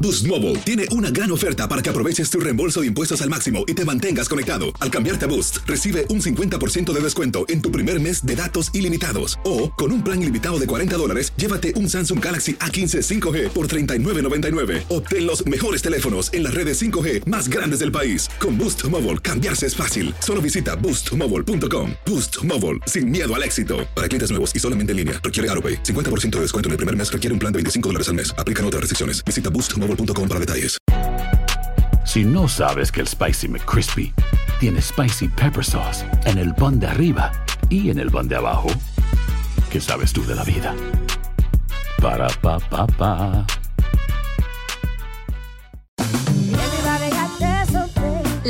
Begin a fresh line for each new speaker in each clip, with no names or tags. Boost Mobile tiene una gran oferta para que aproveches tu reembolso de impuestos al máximo y te mantengas conectado. Al cambiarte a Boost, recibe un 50% de descuento en tu primer mes de datos ilimitados. O, con un plan ilimitado de 40 dólares, llévate un Samsung Galaxy A15 5G por 39.99. Obtén los mejores teléfonos en las redes 5G más grandes del país. Con Boost Mobile, cambiarse es fácil. Solo visita boostmobile.com. Boost Mobile, sin miedo al éxito. Para clientes nuevos y solamente en línea, requiere AroPay. 50% de descuento en el primer mes requiere un plan de 25 dólares al mes. Aplican otras restricciones. Visita boostmobile.com para detalles.
Si no sabes que el Spicy McCrispy tiene Spicy Pepper Sauce en el pan de arriba y en el pan de abajo, ¿qué sabes tú de la vida? Para, pa, pa, pa.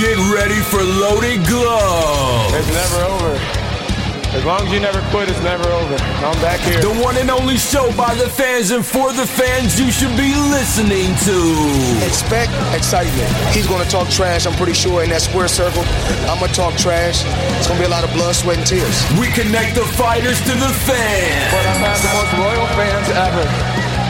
Get ready for Loaded Glove.
It's never over. As long as you never quit, it's never over. I'm back here.
The one and only show by the fans and for the fans you should be listening to.
Expect excitement. He's going to talk trash, I'm pretty sure, in that square circle. I'm going to talk trash. It's going to be a lot of blood, sweat, and tears.
We connect the fighters to the fans.
But I've had the most loyal fans ever.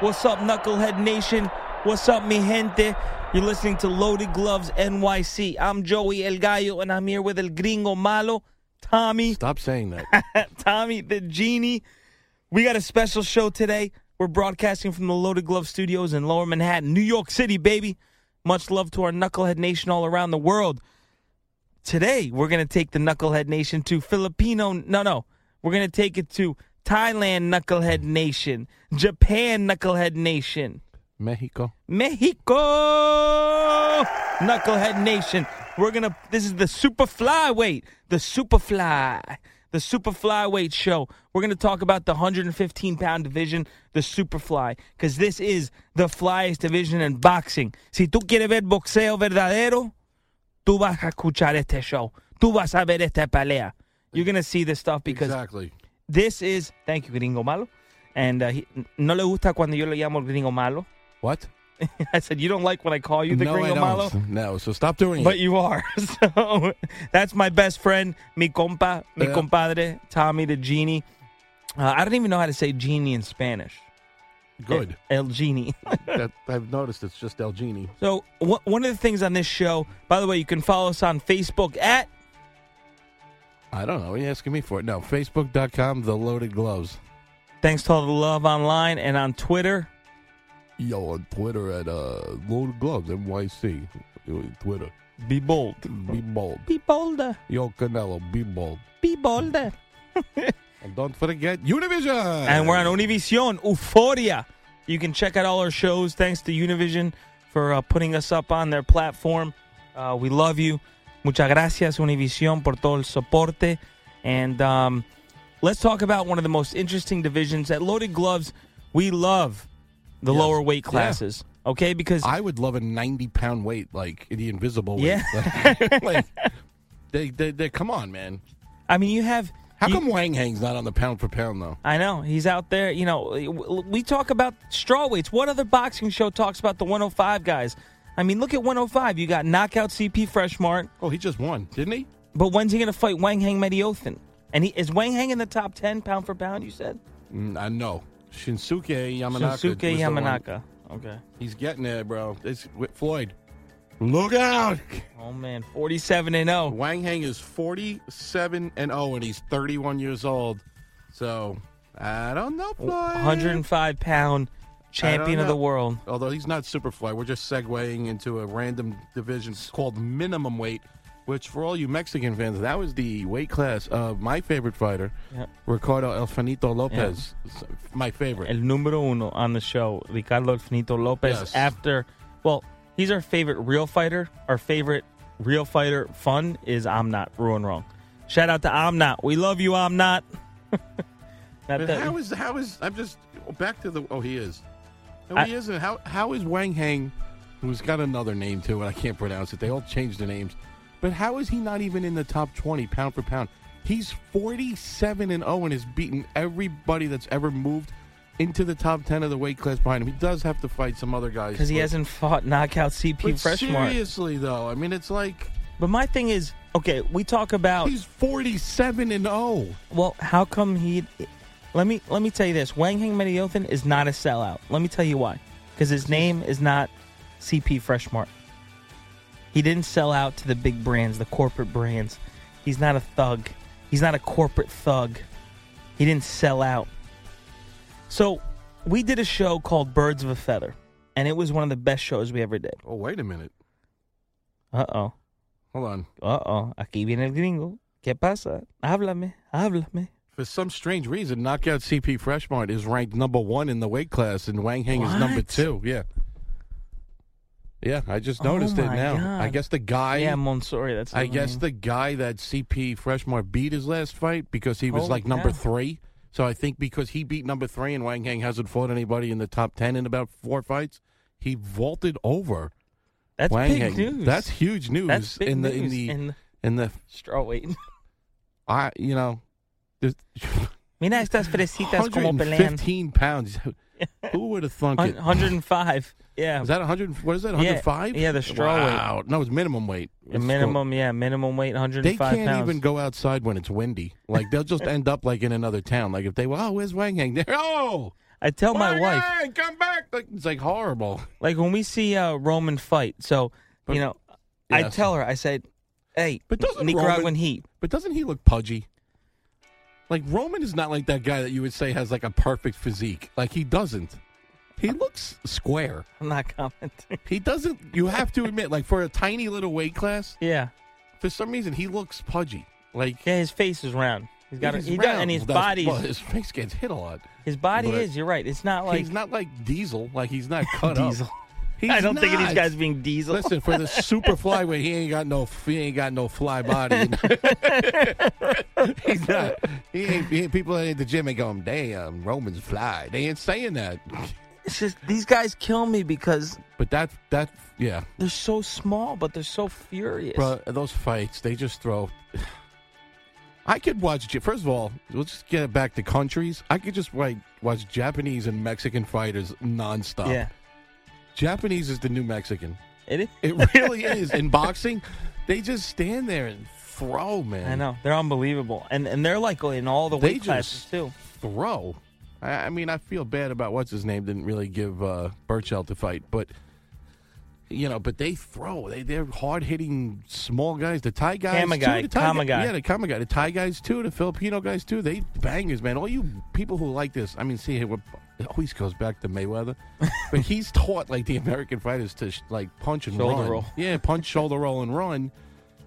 What's up, Knucklehead Nation? What's up, mi gente? You're listening to Loaded Gloves NYC. I'm Joey El Gallo, and I'm here with El Gringo Malo, Tommy,
Stop saying that.
Tommy the Genie. We got a special show today. We're broadcasting from the Loaded Glove Studios in Lower Manhattan, New York City, baby. Much love to our Knucklehead Nation all around the world. Today, we're going to take the Knucklehead Nation to Filipino. No, no. We're going to take it to Thailand Knucklehead Nation, Japan Knucklehead Nation.
Mexico.
Mexico Knucklehead Nation. We're gonna this is the super flyweight, the super fly, the super flyweight show. We're gonna talk about the 115 pound division, the super fly, because this is the flyest division in boxing. Si tú quieres ver boxeo verdadero, tú vas a escuchar este show. Tú vas a ver esta pelea. You're gonna see this stuff because
Exactly.
this is thank you, gringo malo. And uh, he, no le gusta cuando yo le llamo gringo malo.
What?
I said, you don't like when I call you the
no,
gringo
I don't.
malo,
No, so stop doing
but
it.
you are. So that's my best friend, mi compa, mi
Yeah.
compadre, Tommy the genie. Uh, I don't even know how to say genie in Spanish.
Good.
El genie.
that, I've noticed it's just El Genie.
So wh- one of the things on this show, by the way, you can follow us on Facebook at
I don't know. Are you asking me for it? No. Facebook.com, The Loaded Gloves.
Thanks to All the Love Online and on Twitter.
Yo, on Twitter at uh, Loaded Gloves, NYC. Yo, Twitter.
Be bold.
Be bold.
Be bolder.
Yo, Canelo, be bold.
Be bolder.
And don't forget Univision.
And we're on Univision, Euphoria. You can check out all our shows. Thanks to Univision for uh, putting us up on their platform. Uh, we love you. Muchas gracias, Univision, por todo el soporte. And um, let's talk about one of the most interesting divisions at Loaded Gloves. We love the
Yes.
lower weight
Yeah.
classes, okay? Because
I would love a 90 pound weight like the invisible weight.
Yeah.
like, they, they, they, come on, man.
I mean, you have
How come Wang Hang's not on the pound for pound though?
I know he's out there. You know, w- we talk about strawweights. What other boxing show talks about the 105 guys? I mean, look at 105. You got knockout CP Freshmart.
Oh, he just won, didn't he?
But when's he going to fight Wang Hang Mediothan? And he is Wang Hang in the top 10 pound for pound? You said
Mm, I know. Shinsuke Yamanaka.
Shinsuke
was the one-
Yamanaka. Okay.
He's getting there, bro. It's with Floyd. Look out!
Oh man, forty-seven and oh. zero.
Wang Hang is forty-seven and zero, and he's thirty-one years old. So I don't know, Floyd.
105 pound champion
I don't
of the
know.
world.
Although he's not Superfly, we're just segueing into a random division called minimum weight, which for all you Mexican fans, that was the weight class of my favorite fighter,
Yep.
Ricardo Elfanito Lopez. S- My favorite.
El número uno on the show, Ricardo Finito Lopez.
Yes.
After, well, he's our favorite real fighter. Our favorite real fighter fun is I'm Not Ruin Wrong. Shout out to I'm Not. We love you, I'm Not. Not
But
that-
how is how is I'm just back to the oh he is no
I-
he isn't how how is Wang Hang who's got another name too and I can't pronounce it they all changed the names but how is he not even in the top twenty pound for pound he's forty seven and zero and has beaten everybody that's ever moved into the top ten of the weight class behind him he does have to fight some other guys
because he
but-
hasn't fought knockout CP
but
Freshmart.
seriously though I mean it's like
But my thing is, okay, we talk about
he's forty seven and oh. zero
Well, how come he? Let me let me tell you this: Wang Hang Mediothan is not a sellout. Let me tell you why. Because his name is not CP Freshmart. He didn't sell out to the big brands, the corporate brands. He's not a thug. He's not a corporate thug. He didn't sell out. So we did a show called Birds of a Feather, and it was one of the best shows we ever did.
oh wait a minute
Uh oh.
hold on
Uh oh. Aquí viene el gringo. ¿Qué pasa? Háblame. Háblame.
For some strange reason, Knockout CP Freshmart is ranked number one in the weight class, and Wang Hang is number
What?
two. Yeah. Yeah, I just
Oh
noticed it
my
now. I
God.
guess the guy.
yeah, Monsoria. That's.
I
his
guess
name.
the guy that CP Freshmart beat his last fight because he was
Holy
like number
cow.
three. So I think because he beat number three and Wang Hang hasn't fought anybody in the top ten in about four fights, he vaulted over
That's
Wang
big
Hang.
news.
That's huge news
That's big
in the in
news
the
in
in the
strawweight.
I you know. there's-
Mira estas fresitas como pelean.
115 pounds. Who would have thunk
Hun-
it?
105. Yeah.
Is that 100? What is that?
Yeah,
105?
yeah, the straw weight.
Wow. No, it's minimum weight.
The minimum, yeah, minimum weight
They
105
can't
pounds.
even go outside when it's windy. Like they'll just end up like in another town. Like if they, oh, where's Wang Hang? There, oh,
I tell my
Wang
wife,
Hang, come back. Like, it's like horrible.
like when we see uh, Roman fight, so
But-
you know, I
Yes.
tell her, I said, "Hey,
But doesn't
Nicaraguan
Roman-
heat."
But doesn't he look pudgy? Like Roman is not like that guy that you would say has like a perfect physique. Like he doesn't. He looks square.
I'm not commenting.
He doesn't. You have to admit, like for a tiny little weight class,
yeah,
for some reason he looks pudgy. Like
yeah, his face is round. He's got, a,
He's
he got,
round.
and his
That's-
body's,
well, his face gets hit a lot.
his body
but
is. You're right. It's not like
he's not like Diesel. Like he's not cut
diesel.
up. He's
I don't think of these
not.
guys being diesel.
Listen, for the super flyweight, he ain't got no he ain't got no fly body. you know? he's not. He ain't, he ain't- people at the gym ain't going, damn, Roman's fly. They ain't saying that.
it's just these guys kill me because
But that that yeah,
they're so small, but they're so furious.
bro, those fights they just throw. I could watch. Ja- First of all, let's just get it back to countries. I could just like watch Japanese and Mexican fighters nonstop.
Yeah,
Japanese is the new Mexican.
it is.
It really is. In boxing, they just stand there and throw, man.
I know they're unbelievable, and and they're like in all the
They
weight
just-
classes too.
Throw. I, I mean, I feel bad about what's his name. Didn't really give uh, Burchell to fight, but you know, but they throw. They they're hard hitting small guys. The Thai guys,
Kama
too.
guy,
The Thai
Kama
guy-
guy.
yeah, the Kama guy, the Thai guys too, the Filipino guys too. They bangers, man. All you people who like this, I mean, see, it always goes back to Mayweather, but he's taught like the American fighters to sh- like punch and
Shoulder
run.
roll.
Yeah, punch, shoulder roll, and run.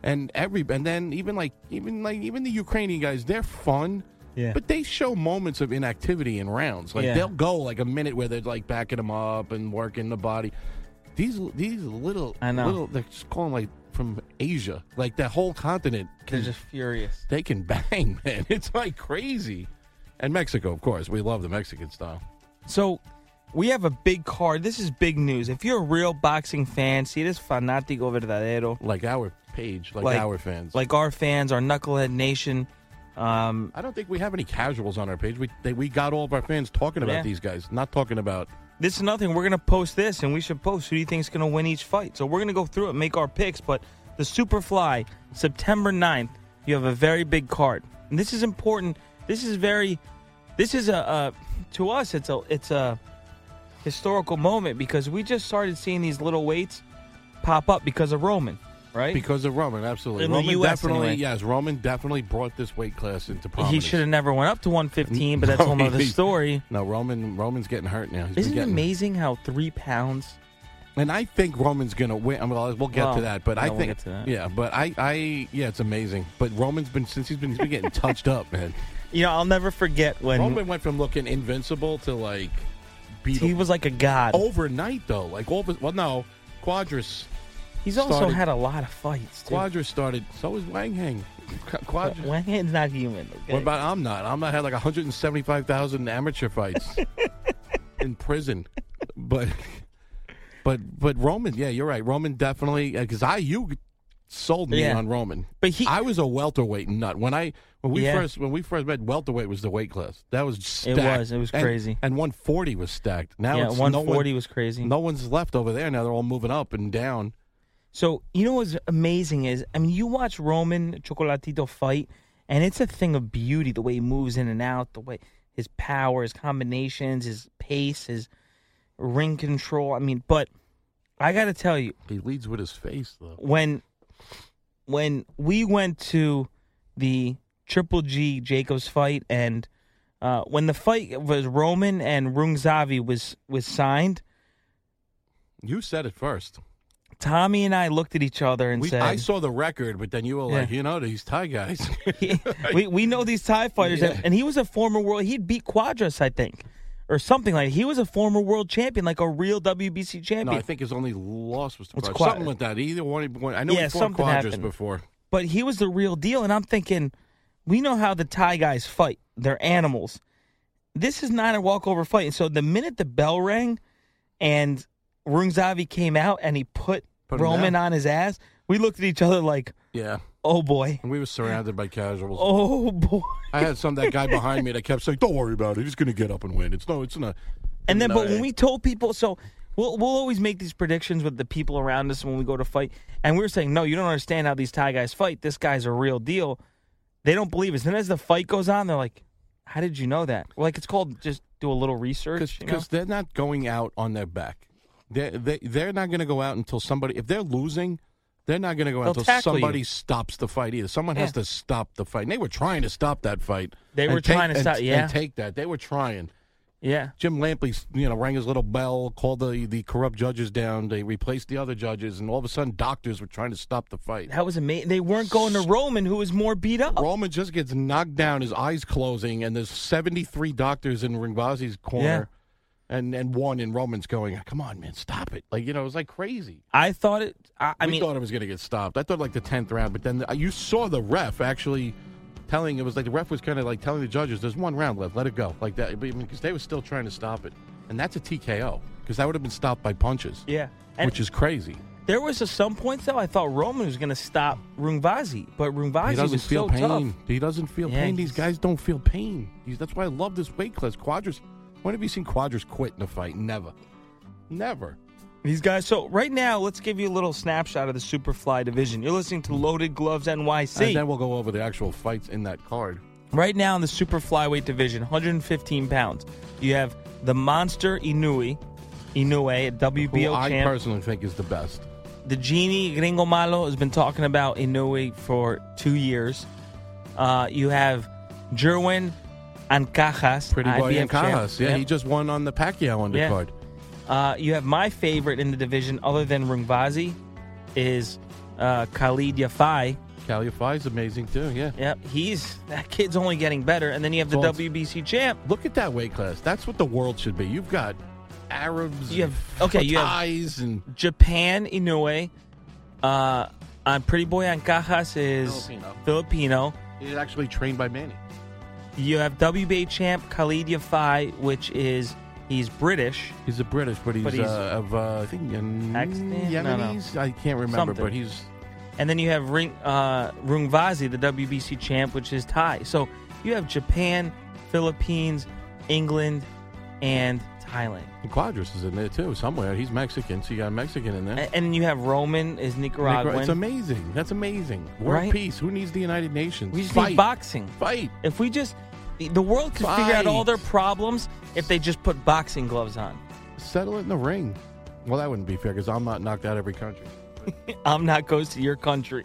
And every and then even like even like even the Ukrainian guys, they're fun.
Yeah.
But they show moments of inactivity in rounds. Like
Yeah.
they'll go like a minute where they're like backing them up and working the body. These these little
I know.
little they're just calling like from Asia, like that whole continent.
They're
Can,
just furious.
they can bang, man. It's like crazy. And Mexico, of course, we love the Mexican style.
So we have a big card. This is big news. If you're a real boxing fan, see this fanático verdadero,
Like our page, like, our fans.
like our fans, our knucklehead nation. Um,
I don't think we have any casuals on our page. We they, we got all of our fans talking about
Yeah.
these guys, not talking about.
This is nothing. We're gonna post this, and we should post who do you think is gonna win each fight. So we're gonna go through it, make our picks. But the Superfly, September 9th, you have a very big card, and this is important. This is very, this is a, a to us, it's a it's a historical moment because we just started seeing these little weights pop up because of Roman, right?
Because of Roman, absolutely.
In the
Roman
US
definitely,
anyway.
yes, Roman definitely brought this weight class into
He
prominence.
should have never went up to 115, but that's
No,
a whole other
he-
story.
No, Roman Roman's getting hurt now. He's been
Isn't it
getting-
amazing how three pounds?
And I think Roman's going to win. I mean, we'll get
Well,
to that, but
yeah,
I
we'll
think,
get to that.
yeah, but I, I, yeah, it's amazing. But Roman's been since he's been he's been getting touched up, man.
You know, I'll never forget when
Roman went from looking invincible to like beat.
He was like a god
Oh, overnight, though. Like all, of a- well, no, Quadras.
He's also had a lot of fights. Too.
Quadras started. So is Wang Hang. Qu- Quadras.
Wang Hang's not human. Okay?
What about I'm not? I'm not had like 175,000 amateur fights in prison, but but but Roman, yeah, you're right. Roman definitely because I you sold me
Yeah.
on Roman,
but he
I was a welterweight nut when I when we
Yeah.
first when we first met welterweight was the weight class that was stacked.
was. It was
And-
crazy.
and 140 was stacked. Now
Yeah,
it's
140
no one,
was crazy.
No one's left over there now. They're all moving up and down.
So you know what's amazing is I mean you watch Roman Chocolatito fight, and it's a thing of beauty the way he moves in and out, the way his power, his combinations, his pace, his ring control. I mean, but I got to tell you,
He leads with his face though.
when when we went to the Triple G Jacobs fight, and uh, when the fight was Roman and Rungzavi was was signed,
You said it first.
Tommy and I looked at each other and
We,
said,
I saw the record, but then you were like,
Yeah.
you know, these Thai guys.
we we know these Thai fighters,
Yeah.
and- and he was a former world. He'd beat Quadras, I think, or something like. He was a former world champion, like a real WBC champion.
No, I think his only loss was to
It's
Quadras.
Qua-
Something with that. Either one. one- I know
Yeah,
he fought
something
Quadras
happened.
before.
but he was the real deal. And I'm thinking, we know how the Thai guys fight; they're animals. This is not a walkover fight. And so the minute the bell rang, and Rungzavi came out and he put,
Put him
Roman
down.
on his ass, we looked at each other like,
Yeah.
"Oh boy,
And we were surrounded by casuals.
oh boy."
I had some that guy behind me that kept saying, "Don't worry about it. He's going to get up and win." It's no, it's not.
And then,
No,
but
eh.
when we told people, so we'll we'll always make these predictions with the people around us when we go to fight, and we were saying, no, you don't understand how these Thai guys fight. This guy's a real deal. They don't believe us. Then as the fight goes on, they're like, how did you know that? We're like, it's called just do a little research. you know?
because they're not going out on their back. They're, they they're not going to go out until somebody. If they're losing, they're not going to go
They'll
out until
tackle you.
somebody stops the fight. Either someone has
Yeah.
to stop the fight. And they were trying to stop that fight.
They
and
were
take-
trying to
and-
stop-
and
yeah.
take that. They were trying.
Yeah.
Jim Lampley, you know, rang his little bell, called the the corrupt judges down. They replaced the other judges, and all of a sudden, doctors were trying to stop the fight.
That was amazing. They weren't going to Roman, who was more beat up.
Roman just gets knocked down, his eyes closing, and there's 73 doctors in Ringbazi's corner, and and one in Roman's going, "Come on, man, stop it!" Like you know, it was like crazy.
I thought it. I, I
we
mean,
thought it was going to get stopped. I thought like the tenth round, but then uh, you saw the ref actually telling it was like the ref was kind of like telling the judges, "There's one round left, let it go," like that, because I mean, 'cause they were still trying to stop it, and that's a TKO because that would have been stopped by punches,
yeah. And
which is crazy.
there was a, some points though I thought Roman was going to stop Rungvazi, but Rungvazi
He doesn't
was
feel
so
pain.
tough.
He doesn't feel
Yeah,
pain.
he's-
These guys don't feel pain. He's, that's why I love this weight class. Quadras. When have you seen Quadras quit in a fight? Never. Never.
These guys. So right now, let's give you a little snapshot of the Superfly division. You're listening to Loaded Gloves NYC.
And then we'll go over the actual fights in that card.
right now in the super flyweight division, 115 pounds. You have the monster Inui, Inoue,
Who
a WBO
I
champ.
personally think is the best.
the genie Gringo Malo has been talking about Inui for two years. Uh, you have Jerwin Ancajas,
Pretty boy
IBF
and Cajas.
champ.
Yeah,
Yep.
he just won on the Pacquiao
Yeah.
undercard.
Uh, you have my favorite in the division, other than Rungvazi, is uh, Khalid Yafai.
Calia Fai's amazing too. Yeah.
Yep, he's that kid's only getting better. And then you have the
Well, it's-
WBC champ.
Look at that weight class. That's what the world should be. You've got Arabs.
You
and
have- okay, you have-
Thais and
Japan Inoue. Uh, on Pretty Boy Ancajas is
Filipino.
Filipino.
he's actually trained by Manny.
You have WBA champ Khalid Yafai, which is he's British.
He's a British, but he's,
But he's-
uh, of uh, I think Yen-
Pakistan? No, no.
Yemenis. I can't remember,
Something.
but he's
And then you have Ring, uh, Rungvazi, the WBC champ, which is Thai. So you have Japan, Philippines, England, and Thailand.
And Quadras is in there too somewhere. He's Mexican, so you got a Mexican in there.
A- And you have Roman is Nicaraguan.
Nicar- It's amazing. That's amazing. World
Right?
peace. Who needs the United Nations?
We just
Fight.
need boxing.
Fight.
If we just, the- the world could figure out all
Fight.
their problems if they just put boxing gloves on.
Settle it in the ring. Well, that wouldn't be fair because I'm not knocked out every country.
I'm not goes to your country.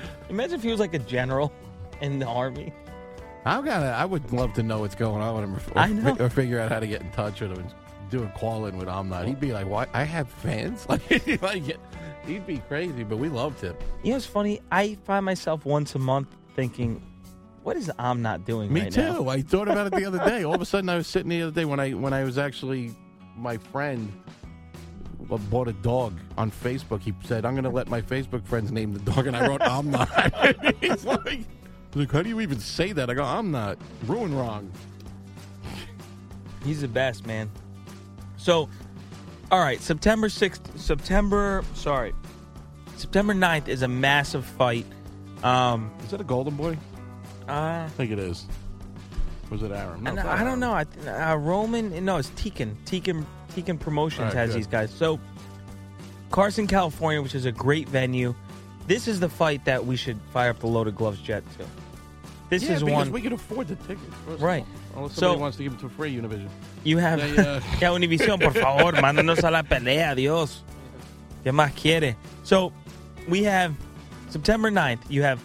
Imagine if he was like a general in the army.
I gotta. I would love to know what's going on with him, or,
I know.
or figure out how to get in touch with him and do a call in with I'm not. He'd be like, "Why? I have fans." Like, like, he'd be crazy, but we loved him.
You know, it's funny. I find myself once a month thinking, "What is I'm not doing?"
Me
right
too.
now?
I thought about it the other day. All of a sudden, I was sitting the other day when I when I was actually my friend b- bought a dog on Facebook. He said, "I'm going to let my Facebook friends name the dog," and I wrote, "I'm not." He's like, "Look, how do you even say that?" I go, "I'm not." Ruin wrong.
He's the best, man. So, all right, September 6th, September, sorry, September 9th is a massive fight. Um,
is that a Golden Boy?
Uh, I
think it is. Was it Aram?
and I
um,
I don't know. I th- uh, Roman, no, it's Tekken. Tekken, Tekken Promotions
All right,
has
good.
these guys. So, Carson, California, which is a great venue. This is the fight that we should fire up the loaded gloves jet to. This
Yeah,
is
because
one
we could afford the tickets, first of
Right.
all. Unless
So-
somebody wants to give it to free Univision.
You have
Yeah, yeah.
ya Univision, por favor, mándanos a la pelea, Dios. ¿Qué más quiere? So we have September 9th. You have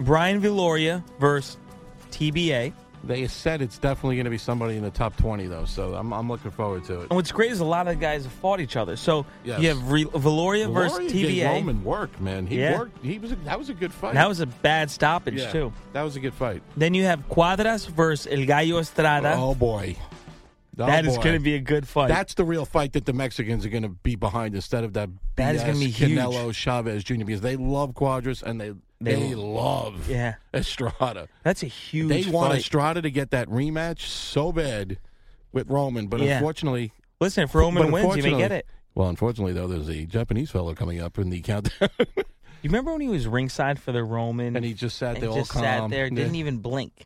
Brian Viloria versus TBA.
They said it's definitely going to be somebody in the top twenty, though. So I'm, I'm looking forward to it.
And what's great is a lot of guys have fought each other. So
Yes.
you have Re- Viloria versus
Gloria gave
TBA.
Roman work, man. He
Yeah.
worked. He was. A, that was a good fight.
That was a bad stoppage
Yeah,
too.
That was a good fight.
Then you have Cuadras versus El Gallo Estrada.
Oh boy. Oh,
that is
boy.
going to be a good fight.
That's the real fight that the Mexicans are going to be behind instead of that.
That is
BS
gonna be huge.
Canelo Chavez Jr. because they love Quadras and they
They
they,
lo-
love
Yeah.
Estrada.
That's a huge.
They want
fight.
Estrada to get that rematch so bad with Roman, but
Yeah.
unfortunately,
Listen, if Roman
but
wins, you may
unfortunately-
get it.
Well, unfortunately though, there's a Japanese fellow coming up in the countdown.
You remember when he was ringside for the Roman, and he
just sat there all
just sat
calm?
there,
Yeah.
didn't even blink.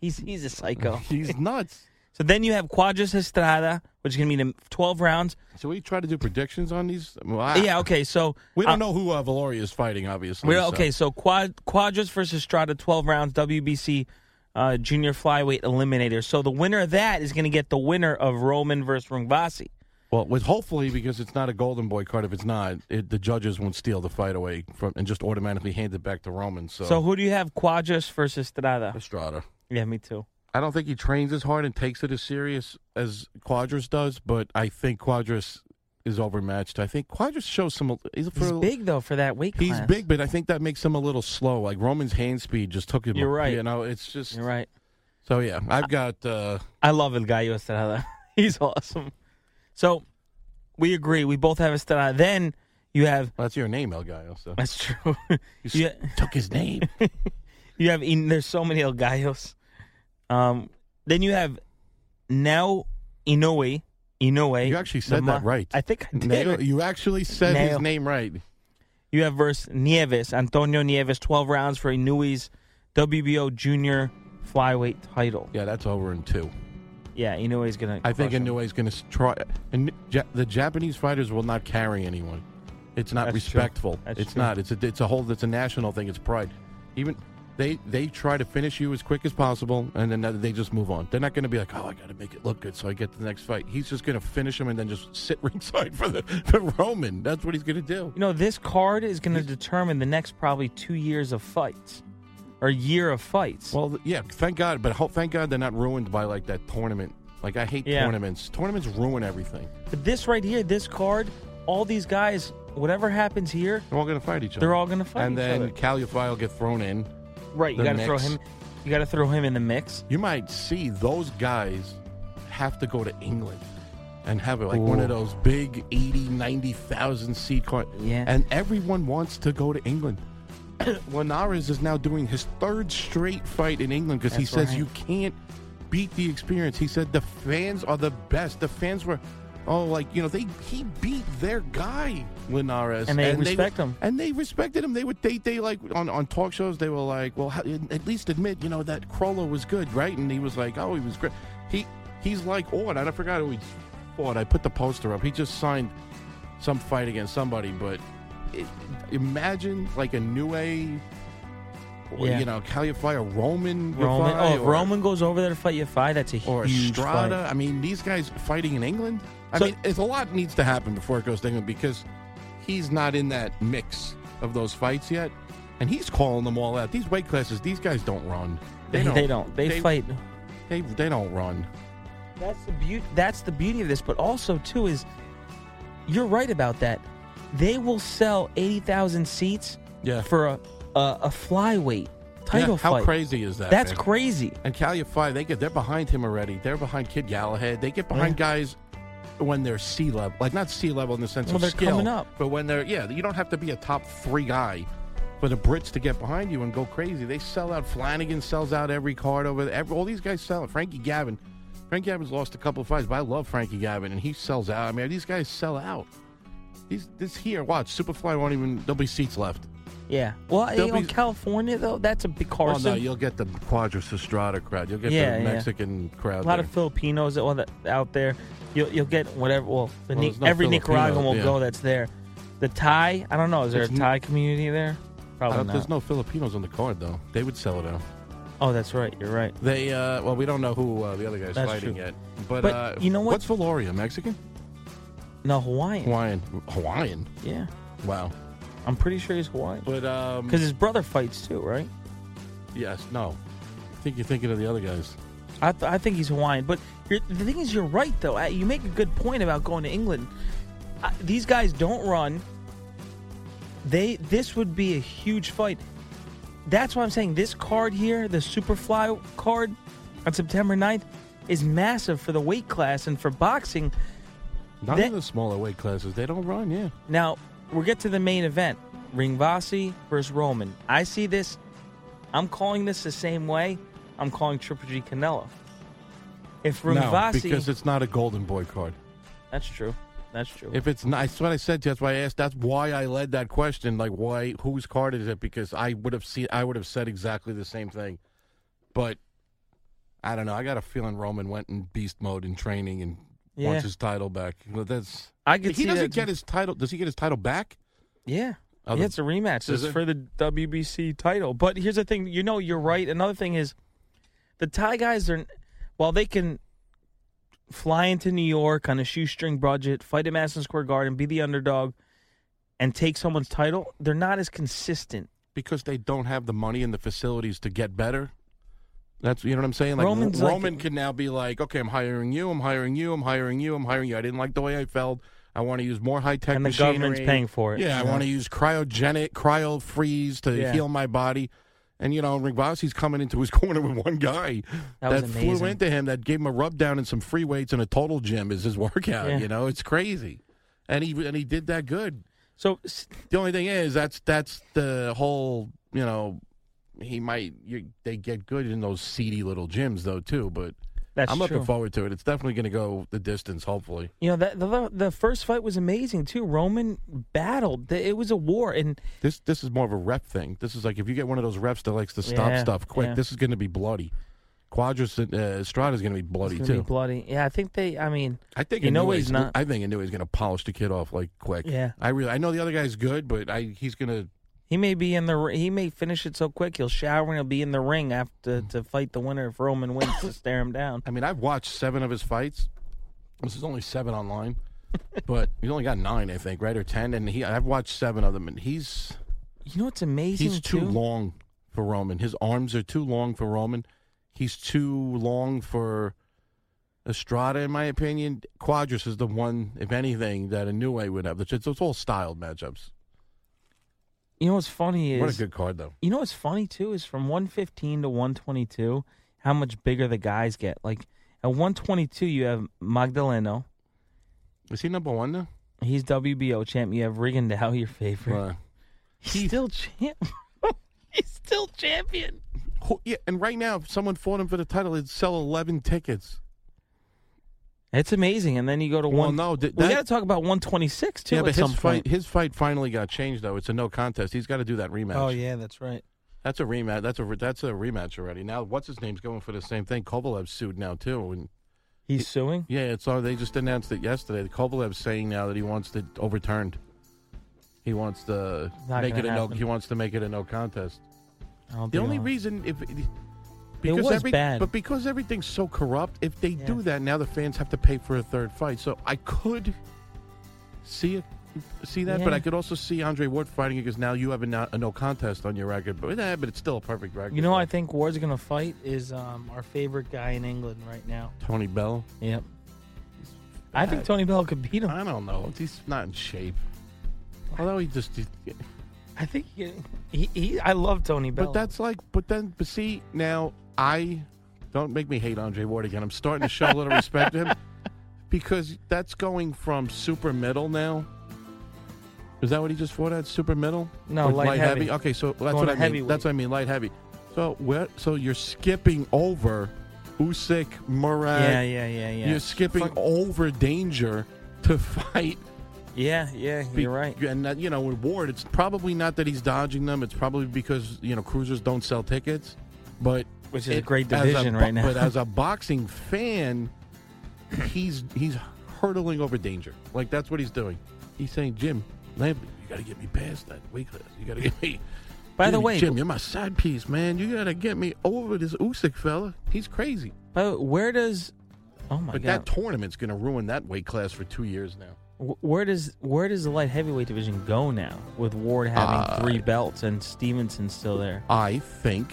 He's he's a psycho.
He's nuts.
So then you have Quadras Estrada, which is going to be the twelve rounds.
So we try to do predictions on these. Well, I-
Yeah, okay. So
Ah. We don't
uh,
know who uh, Valoria is fighting, obviously.
We're,
so-
okay, so Quad, Quadras versus Estrada, twelve rounds, WBC uh, junior flyweight eliminator. So the winner of that is going to get the winner of Roman versus Rungvasi.
Well, with hopefully because it's not a Golden Boy card. If it's not, it, the judges won't steal the fight away from and just automatically hand it back to Roman. So,
So, who do you have? Quadras versus Estrada.
Estrada.
Yeah, me too.
I don't think he trains as hard and takes it as serious as Quadras does, but I think Quadras is overmatched. I think Quadras shows some. He's, a-
He's big though for that weight
He's
class.
big, but I think that makes him a little slow. Like Roman's hand speed just took him.
You're right.
You know, it's just.
You're right.
So yeah, I've got. Uh,
I love El Gallo Estrada. He's awesome. So we agree. We both have Estrada. Then you have
that's your name, El Gallo. So.
that's true.
You took his name.
you have en- there's so many El Gallos. Um, then you have now Inoue. Inoue.
You actually said
the
that
Ma-
right.
I think I did.
Nail- you actually said
Nail.
his name right.
You have versus Nieves, Antonio Nieves, 12 rounds for Inouye's WBO junior flyweight title.
Yeah, that's over in two.
Yeah, Inouye's gonna.
I think
crush him.
Inouye's going to try. And ja- the Japanese fighters will not carry anyone. It's not
That's true.
respectful.
That's
It's
true.
not. It's a. It's a whole. It's a national thing. It's pride. Even they they try to finish you as quick as possible, and then they just move on. They're not going to be like, oh, I got to make it look good so I get to the next fight. He's just going to finish him and then just sit ringside for the for Roman. That's what he's going to do.
You know, this card is going to determine the next probably two years of fights or year of fights.
Well, th- yeah, thank God, but ho- thank God they're not ruined by like that tournament. Like I hate
Yeah.
tournaments. Tournaments ruin everything.
But this right here, this card, all these guys, whatever happens here,
They're all going to fight each other.
They're all gonna fight
And
each
then
other.
Calify will get thrown in.
right? You
The
got to throw
mix.
him. You got to throw him in the mix.
You might see those guys have to go to England and have like one
Ooh.
of those big 80, 90,000 seat car.
Yeah.
And everyone wants to go to England. Linares is now doing his third straight fight in England because he
That's
says
right.
you can't beat the experience. He said the fans are the best. The fans were, oh, like you know, they he beat their guy, Linares,
And they respect him.
And they respected him. They would they they like on on talk shows. They were like, well, how, at least admit you know that Crollo was good, right? And he was like, oh, he was great. He he's like Ord. I forgot who he fought. I put the poster up. He just signed some fight against somebody, but it, imagine like a new a. or,
Yeah.
You know, how you fly a Roman,
Roman.
Yafai
Oh, if
or-
Roman goes over there to fight Yafai, that's a
or
huge
Estrada.
fight.
I mean, these guys fighting in England. I
So-
mean, it's a lot needs to happen before it goes to England because he's not in that mix of those fights yet, and he's calling them all out. These weight classes, these guys don't run.
They- they don't. They fight.
They they don't run.
That's the beauty. That's the beauty of this. But also too is, you're right about that. They will sell eighty thousand seats.
Yeah.
For a a, a flyweight title
Yeah, how
fight.
crazy is that?
That's
man?
crazy.
And Calify, they get they're behind him already. They're behind Kid Galahad. They get behind guys when they're sea level, like not sea level in the sense
Well,
of
they're
skill,
coming up.
but when they're yeah, you don't have to be a top three guy for the Brits to get behind you and go crazy. They sell out. Flanagan sells out every card over there. Every, all these guys sell out. Frankie Gavin, Frankie Gavin's lost a couple of fights, but I love Frankie Gavin and he sells out. I mean, these guys sell out. These this here, watch Superfly won't even. There'll be seats left.
Yeah. Well,
They'll
you know,
be-
California though, that's a big
Oh
Carson.
no, you'll get the Quadras Estrada crowd. You'll get
Yeah,
the
yeah.
Mexican crowd.
a lot
there.
of Filipinos that- well, that- out there. You'll, you'll get whatever. Well, the
Well,
Ni-
there's no
every
Filipino,
Nicaraguan will
yeah.
go that's there. The Thai, I don't know. Is there
It's
a
n-
Thai community there?
I
Probably
don't-
not.
There's no Filipinos on the card though. They would sell it out.
oh, that's right. You're right.
They uh, well, we don't know who uh, the other guy's
That's
fighting
true.
yet. But,
But
uh,
you know what?
What's Valoria? Mexican?
No, Hawaiian.
Hawaiian? Hawaiian?
Yeah,
Wow.
I'm pretty sure he's Hawaiian.
But um,
Because his brother fights too, right?
yes, no. I think you're thinking of the other guys.
I, th- I think he's Hawaiian. But you're, the thing is, you're right though. Uh, You make a good point about going to England. Uh, these guys don't run. They this would be a huge fight. That's why I'm saying this card here, the Superfly card on September 9th, is massive for the weight class and for boxing.
None
That-
of the smaller weight classes. They don't run. Yeah.
Now, we'll get to the main event Ringvasi versus Roman. I see this. I'm calling this the same way I'm calling Triple G Canelo. If
No,
Ringvasi.
because it's not a golden boy card.
that's true. That's true.
If it's not, that's what I said. to you. That's why I asked. That's why I led that question. Like, why? Whose card is it? Because I would have seen. I would have said exactly the same thing. But I don't know. I got a feeling Roman went in beast mode in training and
Yeah.
wants his title back. But that's.
I could
He
see
doesn't
that,
get
too.
his title. Does he get his title back?
yeah.
Oh,
yeah,
the-
it's a rematch.
Is
It's
it?
for the WBC title. But here's the thing you know, you're right. Another thing is the Thai guys are, while they can fly into New York on a shoestring budget, fight at Madison Square Garden, be the underdog, and take someone's title, they're not as consistent.
Because they don't have the money and the facilities to get better. That's you know what I'm saying. Like
Roman's like-
Roman can now be like, okay, I'm hiring you. I'm hiring you. I'm hiring you. I'm hiring you. I didn't like the way I felt. I want to use more high tech.
And the government's paying for it,
Yeah,
you
I want to
know?
use cryogenic, cryo freeze to
Yeah.
heal my body. And you know, Ringvasi's coming into his corner with one guy
That was
flew
amazing.
into him, that gave him a rub down and some free weights and a total gym is his workout.
Yeah.
You know, it's crazy, and he and he did that good.
So s-
The only thing is that's that's the whole you know he might you, they get good in those seedy little gyms though too. But
That's
I'm looking
true.
forward to it. It's definitely going to go the distance. Hopefully,
You know that the, the first fight was amazing too. Roman battled; The- it was a war, and
this this is more of a rep thing. This is like if you get one of those reps that likes to stop
Yeah,
stuff quick,
yeah.
this is going to be bloody. Quadras uh, Estrada is going to be bloody
it's gonna
too.
be bloody. Yeah, I think they. I mean,
I think
you know
Inouye's-
he's not.
I think Inouye's going to polish the kid off like quick.
Yeah.
I really. I know the other guy's good, but I he's going to.
he may be in the. r- He may finish it so quick he'll shower and he'll be in the ring after to fight the winner if Roman wins to stare him down.
I mean, I've watched seven of his fights. This is only seven online, but he's only got nine, I think, right or ten. And he, I've watched seven of them, and he's
You know what's amazing?
he's too
too?
long for Roman. His arms are too long for Roman. He's too long for Estrada, in my opinion. Quadras is the one, if anything, that Inoue would have. It's, it's all styled matchups.
You know what's funny is
What a good card, though.
You know what's funny too is from 115 to 122, how much bigger the guys get. Like at 122, you have Magdaleno,
Is he number one now?
he's WBO champ. You have Rigondeaux, your favorite.
Uh,
he's still champ. he's still champion.
Who- Yeah, and right now, if someone fought him for the title, it'd sell 11 tickets.
It's amazing. And then you go to one.
no, th-
we
that-
got to talk about 126 too
yeah,
at
but
some
his
point.
fight, his fight finally got changed though. It's a no contest. He's got to do that rematch.
Oh yeah, that's right.
That's a rematch. That's a re- that's a rematch already. Now, what's his name's going for the same thing? Kovalev's sued now too, and
he's suing.
Yeah, it's all they just announced it yesterday. Kovalev's saying now that he wants it overturned. He wants to
Not
make it
gonna
a no.
happen.
He wants to make it a no contest.
I don't
The
think
only
I'll-
reason if because
was
every,
bad.
but because everything's so corrupt, if they do that now, the fans have to pay for a third fight. So I could see it, see that, but
Yeah.
I could also see Andre Ward fighting because now you have a, no- a no contest on your record. But eh, but it's still a perfect record.
You know, who I think Ward's going to fight is um, our favorite guy in England right now.
Tony Bell.
Yep. I think Tony Bell could beat him.
I don't know. He's not in shape. Although he just, he-
I think he, he, he I love Tony Bell.
but that's like. But then, but see, now I don't make me hate Andre Ward again. I'm starting to show a little respect to him because that's going from super middle now. Is that what he just fought at? Super middle?
No,
Or
light heavy.
Okay, so that's
Going
what
to
I mean.
heavyweight.
That's what I mean. Light heavy. So where? So you're skipping over Usyk, Murad.
Yeah, yeah, yeah, yeah.
You're skipping over danger to fight
yeah, yeah,
be-
you're right.
And that, you know, with Ward, it's probably not that he's dodging them. It's probably because you know cruisers don't sell tickets, but
Which is a
it-
great
as
division
bo-
right now.
But as a boxing fan, he's he's hurtling over danger. Like that's what he's doing. He's saying, Jim, Lambert, you got to get me past that weight class. You got to get me.
By
Jim,
the way-
Jim, you're my side piece, man. You got to get me over this Usyk fella. He's crazy.
But where does? Oh my
But
god!
that tournament's going to ruin that weight class for two years now.
Wh- where does where does the light heavyweight division go now with Ward having
Uh,
three belts and Stevenson still there?
I think,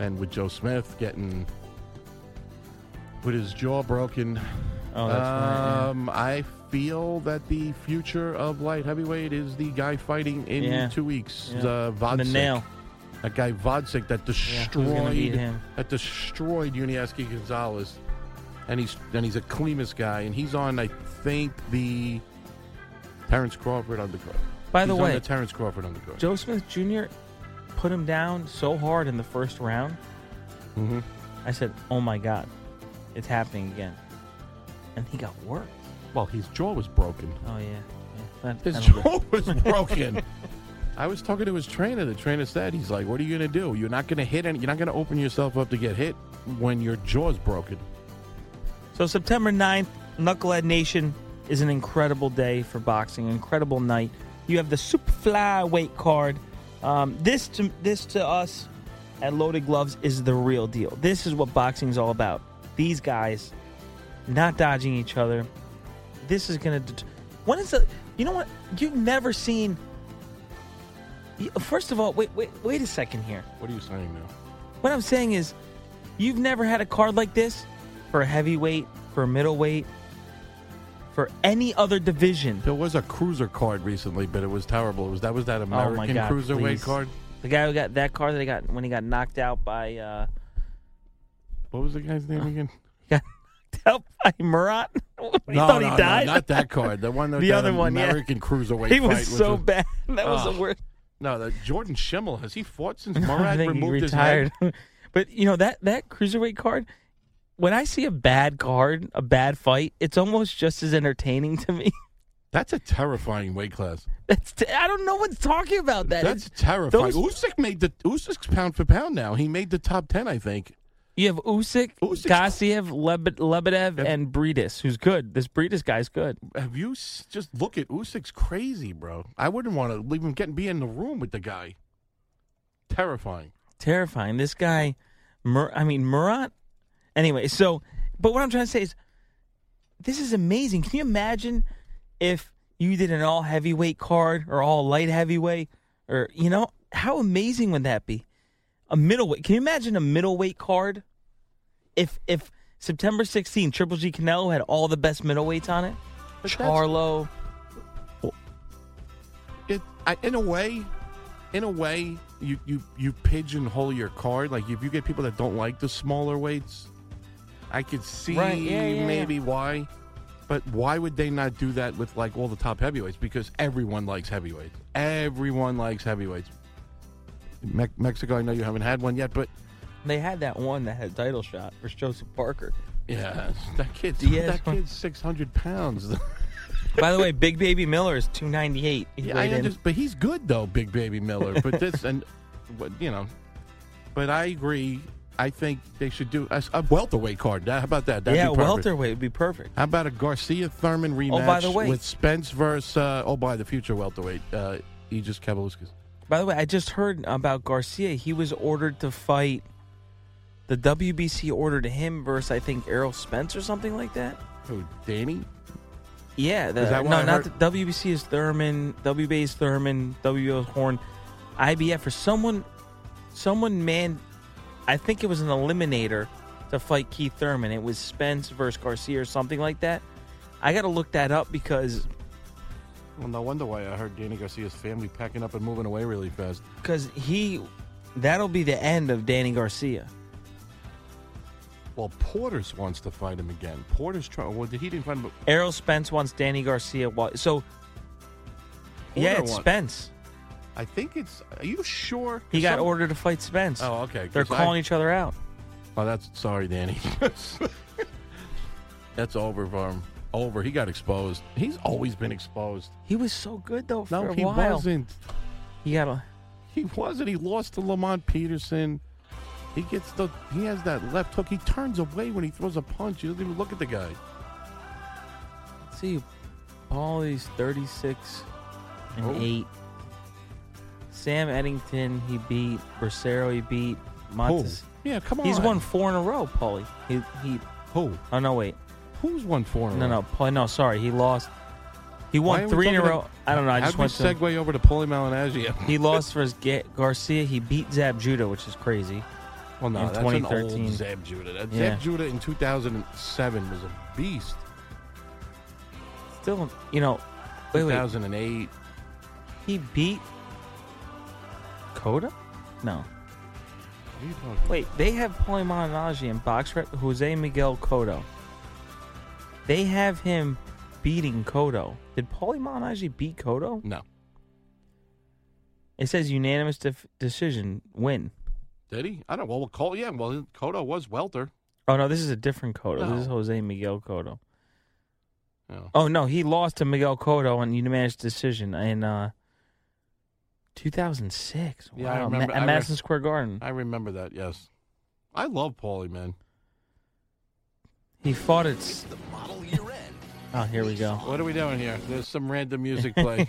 and with Joe Smith getting with his jaw broken,
Oh, that's right, yeah.
um, I feel that the future of light heavyweight is the guy fighting in
Yeah.
two weeks,
Yeah.
uh, Vodsik.
The nail.
That guy Vodsik that
gonna beat
destroyed
him?
that destroyed Unieski Gonzalez, and he's and he's a Clemus guy, and he's on I think the Terrence Crawford undercard.
By the
He's on
way,
the Terrence Crawford undercard.
Joe Smith Jr. put him down so hard in the first round.
Mhm.
I said, "Oh my god, it's happening again," and he got worked.
Well, his jaw was broken.
Oh yeah, yeah. That-
His
that'll
jaw
do.
was broken. I was talking to his trainer. The trainer said, "He's like, what are you going to do? You're not going to hit, and you're not going to open yourself up to get hit when your jaw's broken."
So September 9th, Knucklehead Nation is an incredible day for boxing, an incredible night. You have the super flyweight card. Um, this to this to us at Loaded Gloves is the real deal. This is what boxing is all about. These guys not dodging each other. This is gonna. Det- when is the? You know what? You've never seen. you- First of all, wait, wait, wait a second here.
What are you saying now?
What I'm saying is, you've never had a card like this for a heavyweight, for a middleweight, for any other division.
There was a cruiser card recently, but it was terrible. It was that was that
oh my
American
God,
cruiserweight
please.
card.
The guy who got that card that he got when he got knocked out by uh,
What was the guy's name again?
out by Murat. he
no,
thought
no,
he
no,
died.
not that card. The one that
The
that
other one, yeah.
American cruiserweight.
He was
fight Ah,
so
a-
bad. That was the
Ugh.
worst.
No, the Jordan Schimmel has he fought since
No, I
Murad
think he
removed his head?
retired. but you know that that cruiserweight card. When I see a bad card, a bad fight, it's almost just as entertaining to me.
That's a terrifying weight class.
That's t- I don't know what's talking about that.
That's
It's-
terrifying.
those-
Usyk made the Usyk's pound for pound now. He made the top ten, I think.
You have Usyk, Gassiev, Lebe- Lebedev, and Breedis, who's good. This Breedis guy's good.
Have you s- just look at Usyk's crazy, bro? I wouldn't want to leave him getting be in the room with the guy. Terrifying.
Terrifying. This guy, Mur- I mean Murat. Anyway, so but what I'm trying to say is, this is amazing. Can you imagine if you did an all heavyweight card or all light heavyweight, or you know how amazing would that be? A middleweight. Can you imagine a middleweight card? If if September 16, Triple G Canelo had all the best middleweights on it. Charlo.
It I, in a way, in a way, you you you pigeonhole your card. Like if you get people that don't like the smaller weights, I could see
Right, yeah, yeah, yeah.
maybe why. But why would they not do that with like all the top heavyweights? Because everyone likes heavyweights. Everyone likes heavyweights. Me- Mexico, I know you haven't had one yet, but
They had that one that had a title shot for Joseph Parker.
Yeah, that kid.
Diaz-
that kid's six hundred pounds.
By the way, Big Baby Miller is 298. He
yeah, I
weighed in.
understand, but he's good though, Big Baby Miller. But this and but, you know, but I agree. I think they should do a, a welterweight card. How about that? That'd
yeah,
be perfect.
welterweight would be perfect.
How about a Garcia Thurman rematch
Oh, by the way-
with Spence versus uh, oh by the future welterweight uh, Aegis Kabaluskas?
By the way, I just heard about Garcia. He was ordered to fight. The WBC ordered him versus I think Errol Spence or something like that.
Who, Danny?
Yeah, the,
Is that what
no,
I
not
heard?
the WBC is Thurman, WBA is Thurman, WBO is Horn, IBF or someone, someone man, I think it was an eliminator to fight Keith Thurman. It was Spence versus Garcia or something like that. I got to look that up because
Well, no wonder why I heard Danny Garcia's family packing up and moving away really fast.
because he that'll be the end of Danny Garcia.
Well, Porter's wants to fight him again. Porter's trying. Well, he didn't fight him. but
Errol Spence wants Danny Garcia. wa- So yeah,
Porter
it's
won.
Spence.
I think it's. Are you sure?
He got
Some-
ordered to fight Spence.
Oh, okay,
They're
'cause I-
calling each other out.
Oh, that's sorry, Danny. that's over for him. Over. He got exposed. He's always been exposed.
He was so good though for
No,
a
he
while.
wasn't.
He got a.
He wasn't. He lost to Lamont Peterson. He gets the. He has that left hook. He turns away when he throws a punch. He doesn't even look at the guy.
Let's see, Paulie's 36 and
Oh.
8. Sam Eddington, he beat. Bracero, he beat. Montes.
Yeah, come
He's
on.
won four in a row, Paulie. He, he,
Who?
oh, no, wait.
Who's won four? In a
No,
row?
no, Paulie, no, sorry. He lost. He
Why are
won
we
three in a
talking
row.
about-
I don't know. I
How'd
just
we
went to.
segue over to Paulie Malignaggi.
He lost versus Ga- Garcia. He beat Zab Judah, which is crazy.
Well, no,
in
that's
2013.
an old Zab Judah. That
Yeah.
Zab Judah in 2007 was a beast.
Still, you know, wait, wait.
2008.
He beat Coda? No.
What are you talking
Wait, they have Paulie Malignaggi in box rep Jose Miguel Cotto. They have him beating Cotto. Did Paulie Malignaggi beat Cotto?
No.
It says unanimous def- decision win.
Did he? I don't. Well, Col- yeah. Well, Cotto was welter.
Oh no, this is a different Cotto. This is
No.
Jose Miguel Cotto.
No.
Oh no, he lost to Miguel Cotto on unanimous decision in uh 2006.
Yeah, I
Wow,
remember-
Ma-
I
at
re-
Madison Square Garden.
I remember that. Yes. I love Paulie, man.
He fought at s- Oh, here we go.
What are we doing here? There's some random music playing.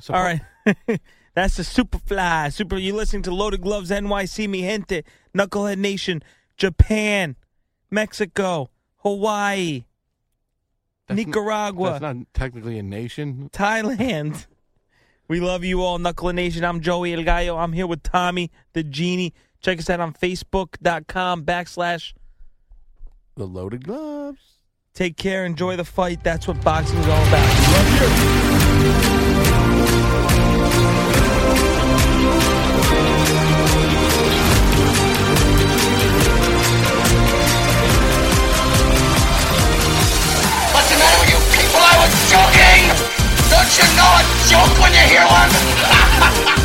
So-
All right. That's the Superfly. Super you listening to Loaded Gloves NYC Mi Gente, Knucklehead Nation, Japan, Mexico, Hawaii,
That's n-
Nicaragua,
That's not technically a nation.
Thailand. We love you all, Knucklehead Nation. I'm Joey El Gallo. I'm here with Tommy the Genie. Check us out on Facebook.com backslash
The loaded gloves.
Take care, enjoy the fight. That's what boxing's all about.
What's the matter with you people? I was joking! Don't you know a joke when you hear one?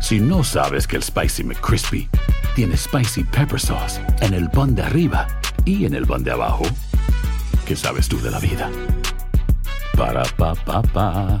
Si no sabes que el Spicy McCrispy tiene spicy pepper sauce en el pan de arriba y en el pan de abajo, ¿qué sabes tú de la vida? Para pa pa pa.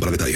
para detalles.